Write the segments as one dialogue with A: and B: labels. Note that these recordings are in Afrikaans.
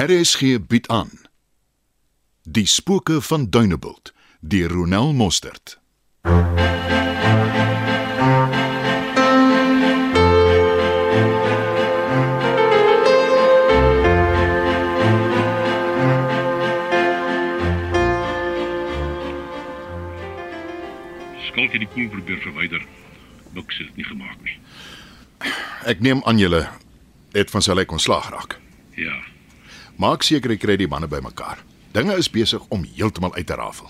A: RSG bied aan Die spooke van Dunebuld deur Ronel Mostert.
B: Skalk het die koel probeer verwyder. Buks het dit nie gemaak nie.
A: Ek neem aan julle het van Salek ontslaag raak.
B: Ja,
A: Maak seker jy kry die manne bymekaar. Dinge is besig om heeltemal uit te rafel.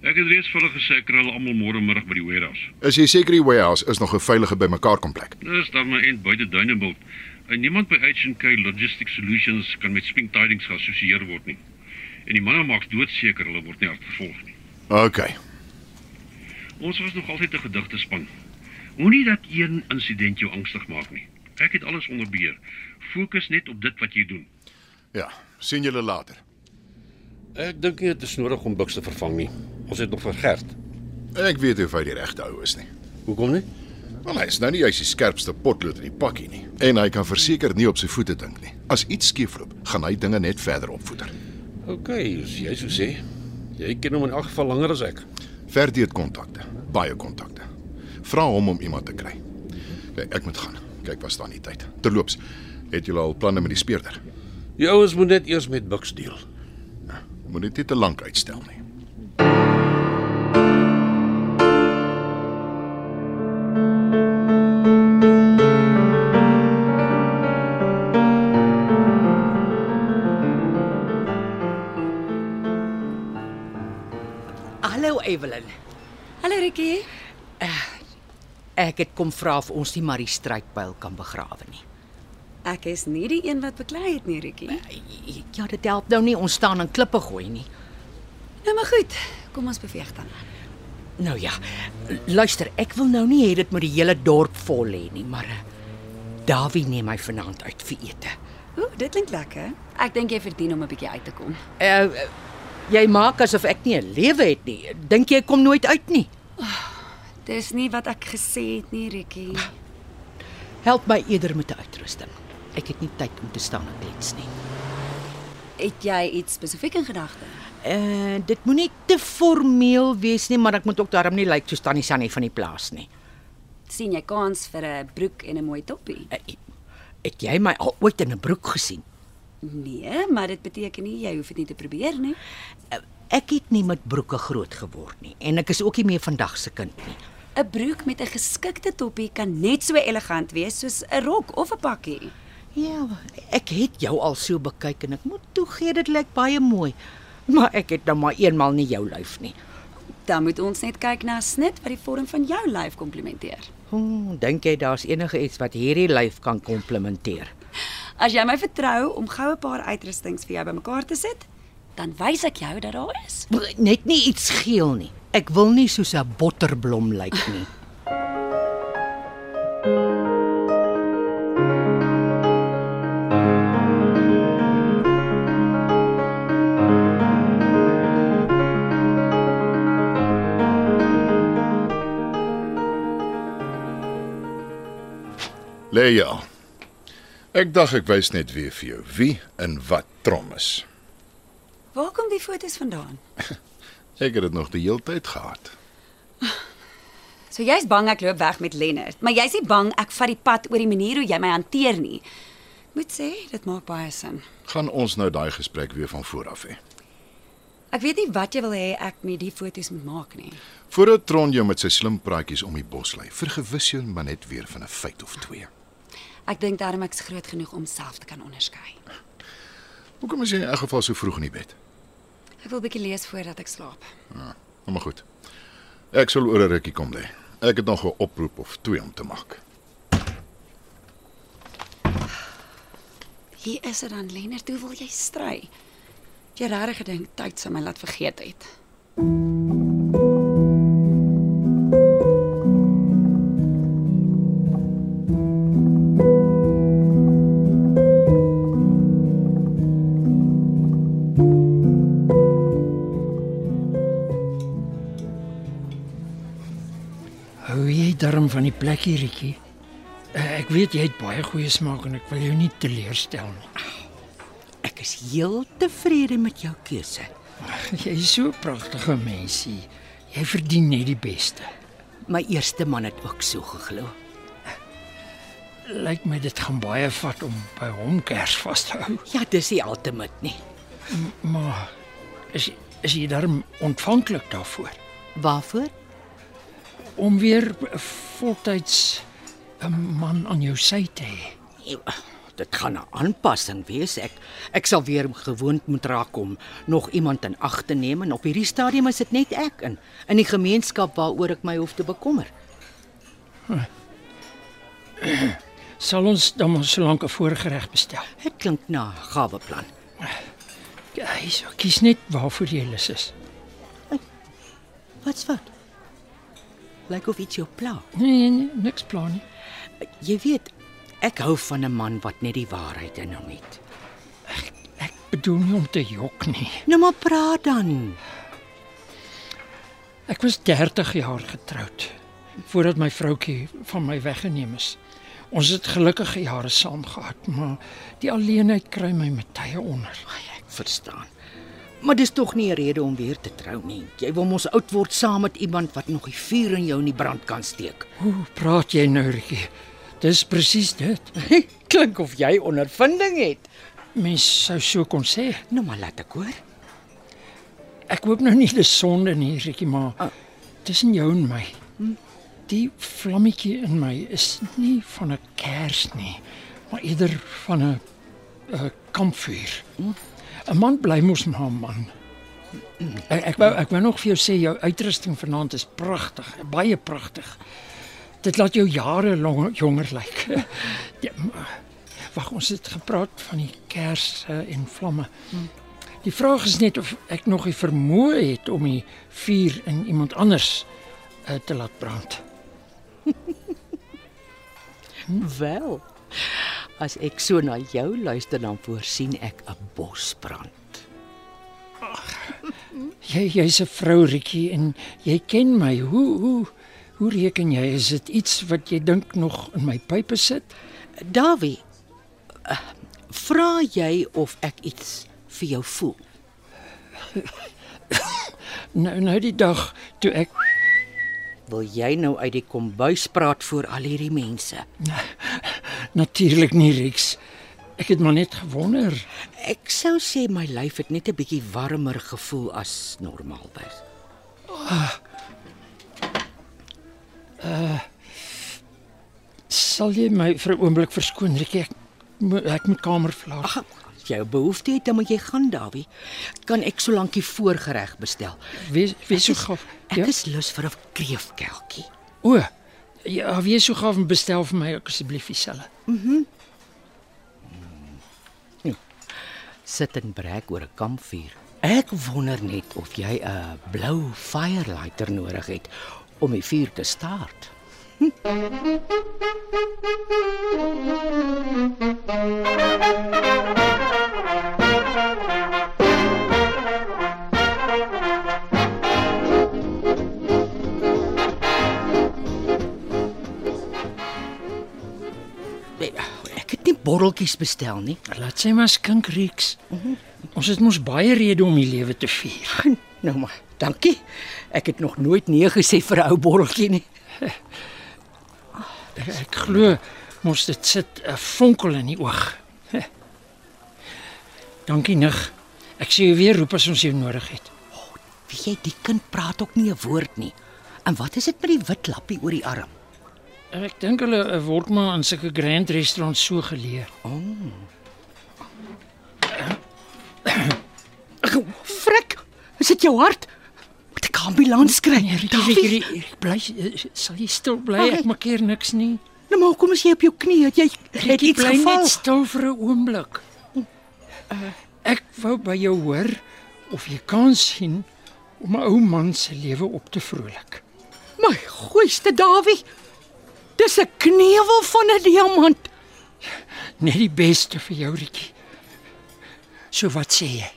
B: ek het reeds vir hulle gesê ek kry hulle almal môre middag by die warehouse.
A: Is jy seker die warehouse is nog 'n veilige bymekaar komplek?
B: Dis dan maar end buite Dunebuld. En niemand by H&K Logistics Solutions kan met Spring Tidings geassosieer word nie. En die manne maak doodseker hulle word nie hard vervolg nie.
A: OK.
B: Ons was nog altyd 'n gedigte span. Moenie dat een insident jou angstig maak nie. Ek het alles onder beheer. Fokus net op dit wat jy doen.
A: Ja, sien julle later.
C: Ek dink nie dit is nodig om Bucks te vervang nie. Ons het nog vir Gert.
A: Ek weet nie of hy die regte ou is nie.
C: Hoekom nie?
A: Wel, hy is nou nie juis die skerpste potlood in die pakkie nie en hy kan verseker nie op sy voete dink nie. As iets skeefloop, gaan hy dinge net verder opvoeder.
C: OK, as jy so sê. Jy ken hom in elk geval langer as ek.
A: Verdie het kontakte, baie kontakte. Vra hom om iemand te kry. Kyk, ek moet gaan. Kyk, was daar nie tyd. Terloops, het julle al planne met die speurder?
C: Die ouens moet net eers met Bucks deel.
A: Moet dit nie te lank uitstel nie.
D: Hallo Evelyn.
E: Hallo Rikkie.
D: Ek het kom vra of ons nie maar die strydpyl kan begrawe nie.
E: Ek is nie die een wat beklei het nie, Rikkie.
D: Ja, dit help nou nie ons staan in klippe gooi nie.
E: Nou maar goed, kom ons beweeg dan.
D: Nou ja, luister, ek wil nou nie hê dit moet die hele dorp vol lê nie, maar eh, Dawie neem my vanaand uit vir ete.
E: Ooh, dit klink lekker. Ek dink jy verdien om 'n bietjie uit te kom.
D: Uh jy maak asof ek nie 'n lewe het nie. Dink jy ek kom nooit uit nie?
E: Dis nie wat ek gesê het nie, Rikkie.
D: Help my eerder met 'n uitrusting. Ek het nie tyd om te staan en klets nie.
E: Het jy iets spesifiek in gedagte?
D: Uh dit moenie te formeel wees nie, maar ek moet ook daarom nie lyk soos tannie Sannie van die plaas nie.
E: sien jy kans vir 'n broek en 'n mooi toppie?
D: Eh, Het jy my al ooit in 'n broek gesien?
E: Nee, maar dit beteken nie jy hoef dit nie te probeer nie.
D: Ek het nie met broeke groot geword nie en ek is ook nie meer vandag se kind nie.
E: 'n Broek met 'n geskikte toppie kan net so elegant wees soos 'n rok of 'n pakkie.
D: Ja, ek het jou al so bekyk en ek moet toegee dit lyk baie mooi. Maar ek het nou maar eenmal nie jou lyf nie.
E: Dan moet ons net kyk na 'n snit wat die vorm van jou lyf komplimenteer.
D: Hoe dink jy daar's enige iets wat hierdie lyf kan komplementeer?
E: As jy my vertrou om goue paar uitrustings vir jou bymekaar te sit, dan wys ek jou dat daar is.
D: Net nie iets geel nie. Ek wil nie soos 'n botterblom lyk nie.
A: Lê ja. Ek dink ek wys net weer vir jou wie en wat trom is.
E: Waar kom die fotos vandaan?
A: Ek het dit nog die hele tyd gehad.
E: So jy's bang ek loop weg met Lennard, maar jy's nie bang ek vat die pad oor die manier hoe jy my hanteer nie. Moet sê, dit maak baie sin.
A: Gaan ons nou daai gesprek weer van voor af hê.
E: Ek weet nie wat jy wil hê ek met die fotos moet maak nie.
A: Voordat Tron jou met sy slim praatjies om die bos lei, vergewis jou maar net weer van 'n feit of twee.
E: Ek dink daarom ek's groot genoeg om self te kan onderskei.
A: Hoekom is jy in elk geval so vroeg in die bed?
E: Ek wil bietjie lees voordat ek slaap.
A: Nou maar goed. Ek sal oor 'n rukkie kom lê. Ek het nog 'n oproep of twee om te maak.
E: Hier is dit dan Lennard, hoe wil jy stry? Het Jy regtig gedink tyd sou my laat vergeet het.
F: Hou jy darm van die plekkie, Rietjie? Eh, Ek weet jy het baie goeie smaak en ek wil jou nie teleurstel nie.
D: Ek Ek is heel tevrede met jou keuse.
F: Ag, Jy's so 'n pragtige mensie. Jy verdien net die beste.
D: My eerste man het ook so geglo.
F: Lyk my dit gaan baie vat om by hom kers vas te hou.
D: Ja, dis die ultimate, nee. nie.
F: Maar is is jy darm ontvanklik daarvoor
D: Waarvoor?
F: om weer 'n voltyds 'n man aan jou sy te hê?
D: Ew, Ja, Dit gaan 'n aanpassing wees. Ek ek sal weer gewoond moet raak om nog iemand in ag te neem en op hierdie stadium is dit net ek in in die gemeenskap waaroor ek my hoef te bekommer.
F: Sal ons dan maar so lank 'n voorgereg bestel.
D: Dit klink na 'n gawe plan.
F: Hy sê kies net waarvoor jy lus is.
D: Wat's wat? Lyk of iets jou pla.
F: Nee, nee niks plan nie.
D: Jy weet, ek hou van 'n man wat net die waarheid in hom het.
F: Ek bedoel nie om te jok nie.
D: Nou maar praat dan.
F: Ek was 30 jaar getroud voordat my vroutjie van my weggeneem is. Ons het gelukkige jare saam gehad, maar die alleenheid kry my met tye onder.
D: Ai, ek verstaan. Maar dis tog nie 'n rede om weer te trou nie. Jy wil mos oud word saam met iemand wat nog die vuur in jou in die brand kan steek.
F: Hoe praat jy nou, Rietjie? Dis presies dit.
D: Klink of jy ondervinding het.
F: Mens sou so kon sê.
D: Nou maar laat ek hoor.
F: Ek hoop nou nie dis sonde nie, Rietjie, maar
D: Ah.
F: tussen jou en my. Die vlammetjie in my is nie van 'n kers nie, maar eerder van 'n 'n kampvuur. 'n Man bly mos maar 'n man. Ek ek wou ek wou nog vir jou sê jou uitrusting vanaand is pragtig, baie pragtig. Dit laat jou jare long, jonger lyk. Ja, maar- Wag, ons het gepraat van die kers eh, en vlamme. Die vraag is net of ek nog die vermoë het om die vuur in iemand anders eh, te laat brand.
D: Wel. As ek so na jou luister dan voorsien ek 'n bosbrand.
F: Jy jy's 'n vrou Rietjie en jy ken my. Hoe hoe hoe reken jy is dit iets wat jy dink nog in my pype sit?
D: Dawie, eh, vra jy of ek iets vir jou voel?
F: Nou nou die dag toe ek
D: Wil jy nou uit die kombuis praat voor al hierdie mense?
F: natuurlik nie Rieks. Ek het maar net gewonder.
D: Ek sou sê my lyf het net 'n bietjie warmer gevoel as normaalweg.
F: Sal jy my vir 'n oomblik verskoon Rietjie? Ek moet ek moet kamer verlaat.
D: Ag, as jy 'n behoefte het, dan moet jy gaan, Dawie. Kan ek solank die voorgereg bestel?
F: Wees wees so gaaf. Ja?
D: Ek is lus vir 'n kreefkelkie.
F: O. Ja, wees so gaaf en bestel vir my ook asseblief dieselfde.
D: Sit en brek oor 'n kampvuur. Ek wonder net of jy 'n blou firelighter nodig het om die vuur te staart. Nee, Ek het nie botteltjies bestel nie.
F: Laat sy maar skink reeks. Ons het mos baie redes om die lewe te vier.
D: Nou maar, dankie. Ek het nog nooit nee gesê vir 'n ou borreltjie nie.
F: Ek glo mos dit sit 'n vonkel in die oog. Hè. Dankie nig. Ek sê jou weer roep as ons jou nodig het.
D: Weet jy, die kind praat ook nie 'n woord nie. En wat is dit met die wit lappie oor die arm?
F: Ek dink hulle eh, word maar in sulke grand restaurants so geleer.
D: Frik, is dit jou hart? Moet ek 'n ambulans kry? Davie,
F: Rietjie, bly eh, sal jy stil bly?
D: Ag,
F: Ek
D: ek-
F: maak hier niks nie.
D: nou maar kom as jy op jou knie, het jy het
F: Rikkie,
D: iets
F: bly
D: geval.
F: net stil vir 'n oomblik. Eh, Ek wou by jou hoor of jy kan sien om 'n ou man se lewe op te vrolik.
D: My goeieste Dawie. Dis 'n knewel van 'n diamant.
F: Net die beste vir jou, Rikkie. So wat sê jy?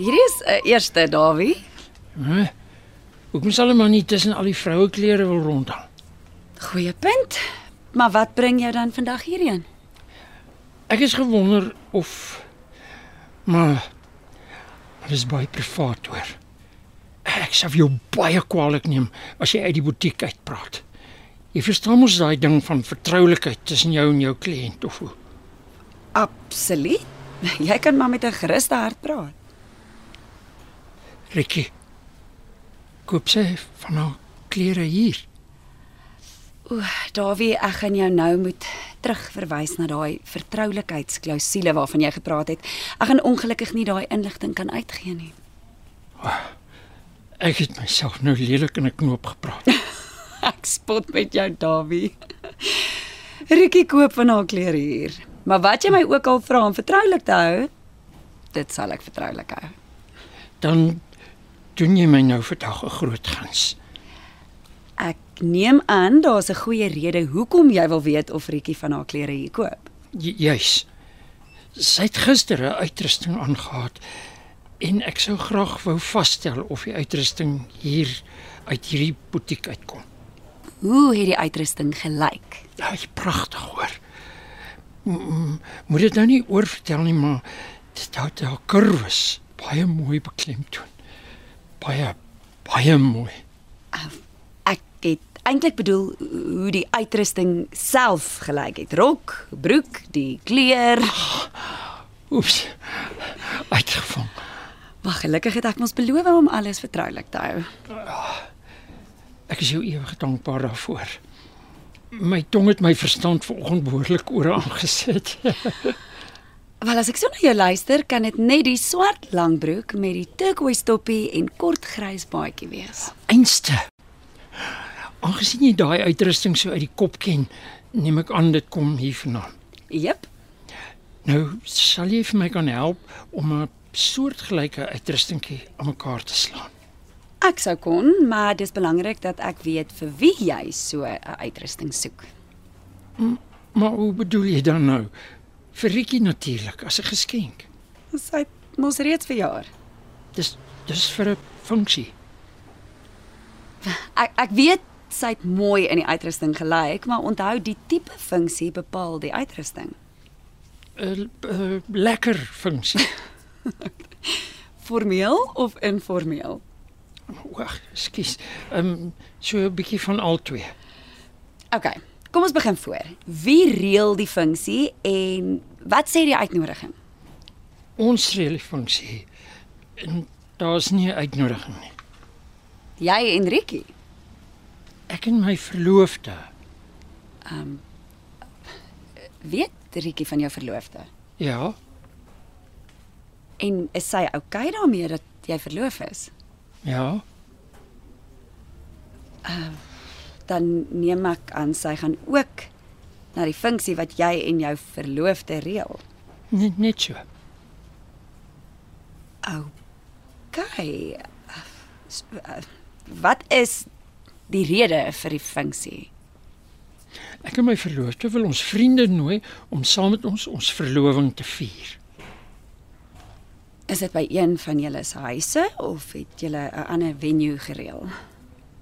E: Hierdie is 'n eerste, Dawie.
F: Hè? Hoekom sal 'n man nie tussen al die vroueklere wil rondhang?
E: Goeie punt. Maar wat bring jou dan vandag hierheen?
F: Ek is gewonder of maar dit is baie privaat hoor. Ek sou jou baie kwaadlik neem as jy uit die butiek uitpraat. Jy verstaan mos daai ding van vertroulikheid tussen jou en jou kliënt of hoe?
E: Absoluut. Jy kan maar met 'n geruste hart praat.
F: Rikkie. Koop sy van haar klere hier.
E: Dawie, ek gaan jou nou moet terugverwys na daai vertroulikheidsklausule waarvan jy gepraat het. Ek gaan ongelukkig nie daai inligting kan uitgee nie.
F: Ek het myself nou lelik in 'n knoop gepraat.
E: Ek spot met jou, Dawie. Rikkie koop van haar klere hier. Maar wat jy my ook al vra om vertroulik te hou, dit sal ek vertroulik hou.
F: Dan doen jy my nou vandag 'n groot guns.
E: Ek neem aan daar's 'n goeie rede hoekom jy wil weet of Rikkie van haar klere hier koop.
F: J- Juis. Sy het gister 'n uitrusting aangehad en ek sou graag wou vasstel of die uitrusting hier uit hierdie butiek uitkom.
E: Hoe het die uitrusting gelyk?
F: Ja, is pragtig hoor. M- m- Moet dit nou nie oor vertel nie, maar dit hou daai kurwes baie mooi beklemtoon. Baie baie mooi.
E: Ek het eintlik bedoel hoe die uitrusting self gelyk het. Rok, broek, die kleur.
F: Oeps. Uitgevang.
E: Wag, gelukkig het ek mos beloof om alles vertroulik te hou.
F: Ek is jou ewig dankbaar daarvoor. My tong het my verstand vanoggend behoorlik oor aangesit.
E: Wel as ek so na jou luister, kan dit net die swart langbroek met die turquoise toppie en kort grys baadjie wees.
F: Einste. Aangesien jy daai uitrusting so uit die kop ken, neem ek aan dit kom hier vanaand.
E: Jep.
F: Nou, sal jy vir my kan help om 'n soortgelyke uitrustingkie aan mekaar te slaan?
E: Ek sou kon, maar dis belangrik dat ek weet vir wie jy so 'n uitrusting soek.
F: Maar hoe bedoel jy dan nou? Vir Rikkie natuurlik, as 'n geskenk.
E: Ons het mos reeds verjaar.
F: Dis dis vir 'n funksie.
E: Ek ek weet sy het mooi in die uitrusting gelyk, maar onthou die tipe funksie bepaal die uitrusting.
F: 'n uh, lekker funksie.
E: Formeel of informeel?
F: Wag, skus. Ehm um, so 'n bietjie van al twee.
E: OK. Kom ons begin voor. Wie reël die funksie en wat sê die uitnodiging?
F: Ons reël die funksie. En daar's nie 'n uitnodiging nie.
E: Jy en Rikkie.
F: Ek en my verloofde.
E: Weet Rikkie van jou verloofde?
F: Ja,
E: En is sy oukei okay daarmee dat jy verloof is?
F: ja.
E: Dan neem ek aan sy gaan ook na die funksie wat jy en jou verloofde reël.
F: Net net so.
E: Okay. S- eh, Wat is die rede vir die funksie?
F: Ek en my verloofde wil ons vriende nooi om saam met ons ons verloving te vier.
E: Is dit by een van julle se huise of het julle 'n ander venue gereël?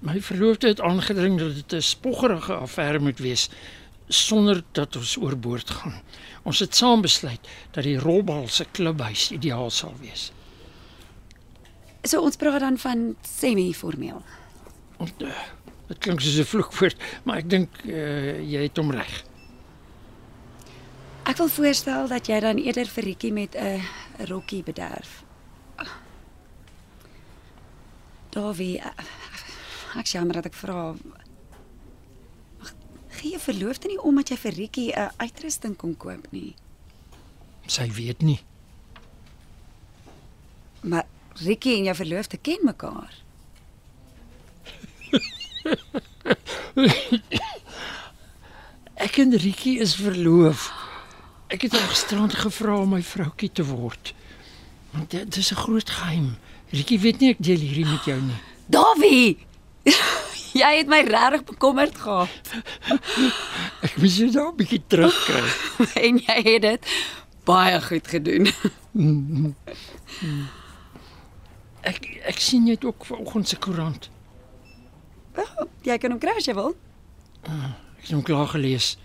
F: My verloofde het aangedring dat dit 'n spoggerige affære moet wees sonder dat ons oorboord gaan. Ons het saam besluit dat die rolbal se klubhuis ideaal sal wees.
E: So ons praat dan van semi-formeel.
F: Want uh, dit klink soos 'n vloekwoord, maar ek dink uh, jy het hom reg.
E: Ek wil voorstel dat jy dan eerder vir Rikkie met 'n rokkie bederf. Dawie, eh, ek is jammer dat ek vra. Ag, Gee jou verloofde nie om dat jy vir Rikkie 'n uitrusting kon koop nie.
F: Sy weet nie.
E: Maar Rikkie en jou verloofde ken mekaar.
F: Ek en Rietjie is verloof. Ek het haar gisterand gevra om my vroutjie te word. Want dit dis 'n groot geheim. Rietjie weet nie ek deel hierdie met jou nie.
E: Dawie! jy het my regtig bekommerd gehad
F: Ek moes jou daar 'n bietjie terugkry.
E: en jy het dit baie goed gedoen.
F: Ek ek sien jy het ook vanoggend se koerant.
E: Jy kan hom kry as jy wil.
F: Ek het hom klaar gelees.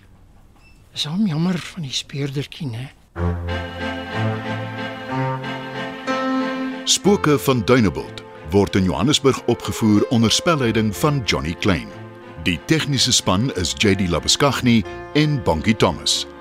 F: Is hom jammer van die speurdertjie, né?
A: Spooke van Dunebuld word in Johannesburg opgevoer onder spelleiding van Johnny Klein. Die tegniese span is JD Labuskaghni en Bongie Thomas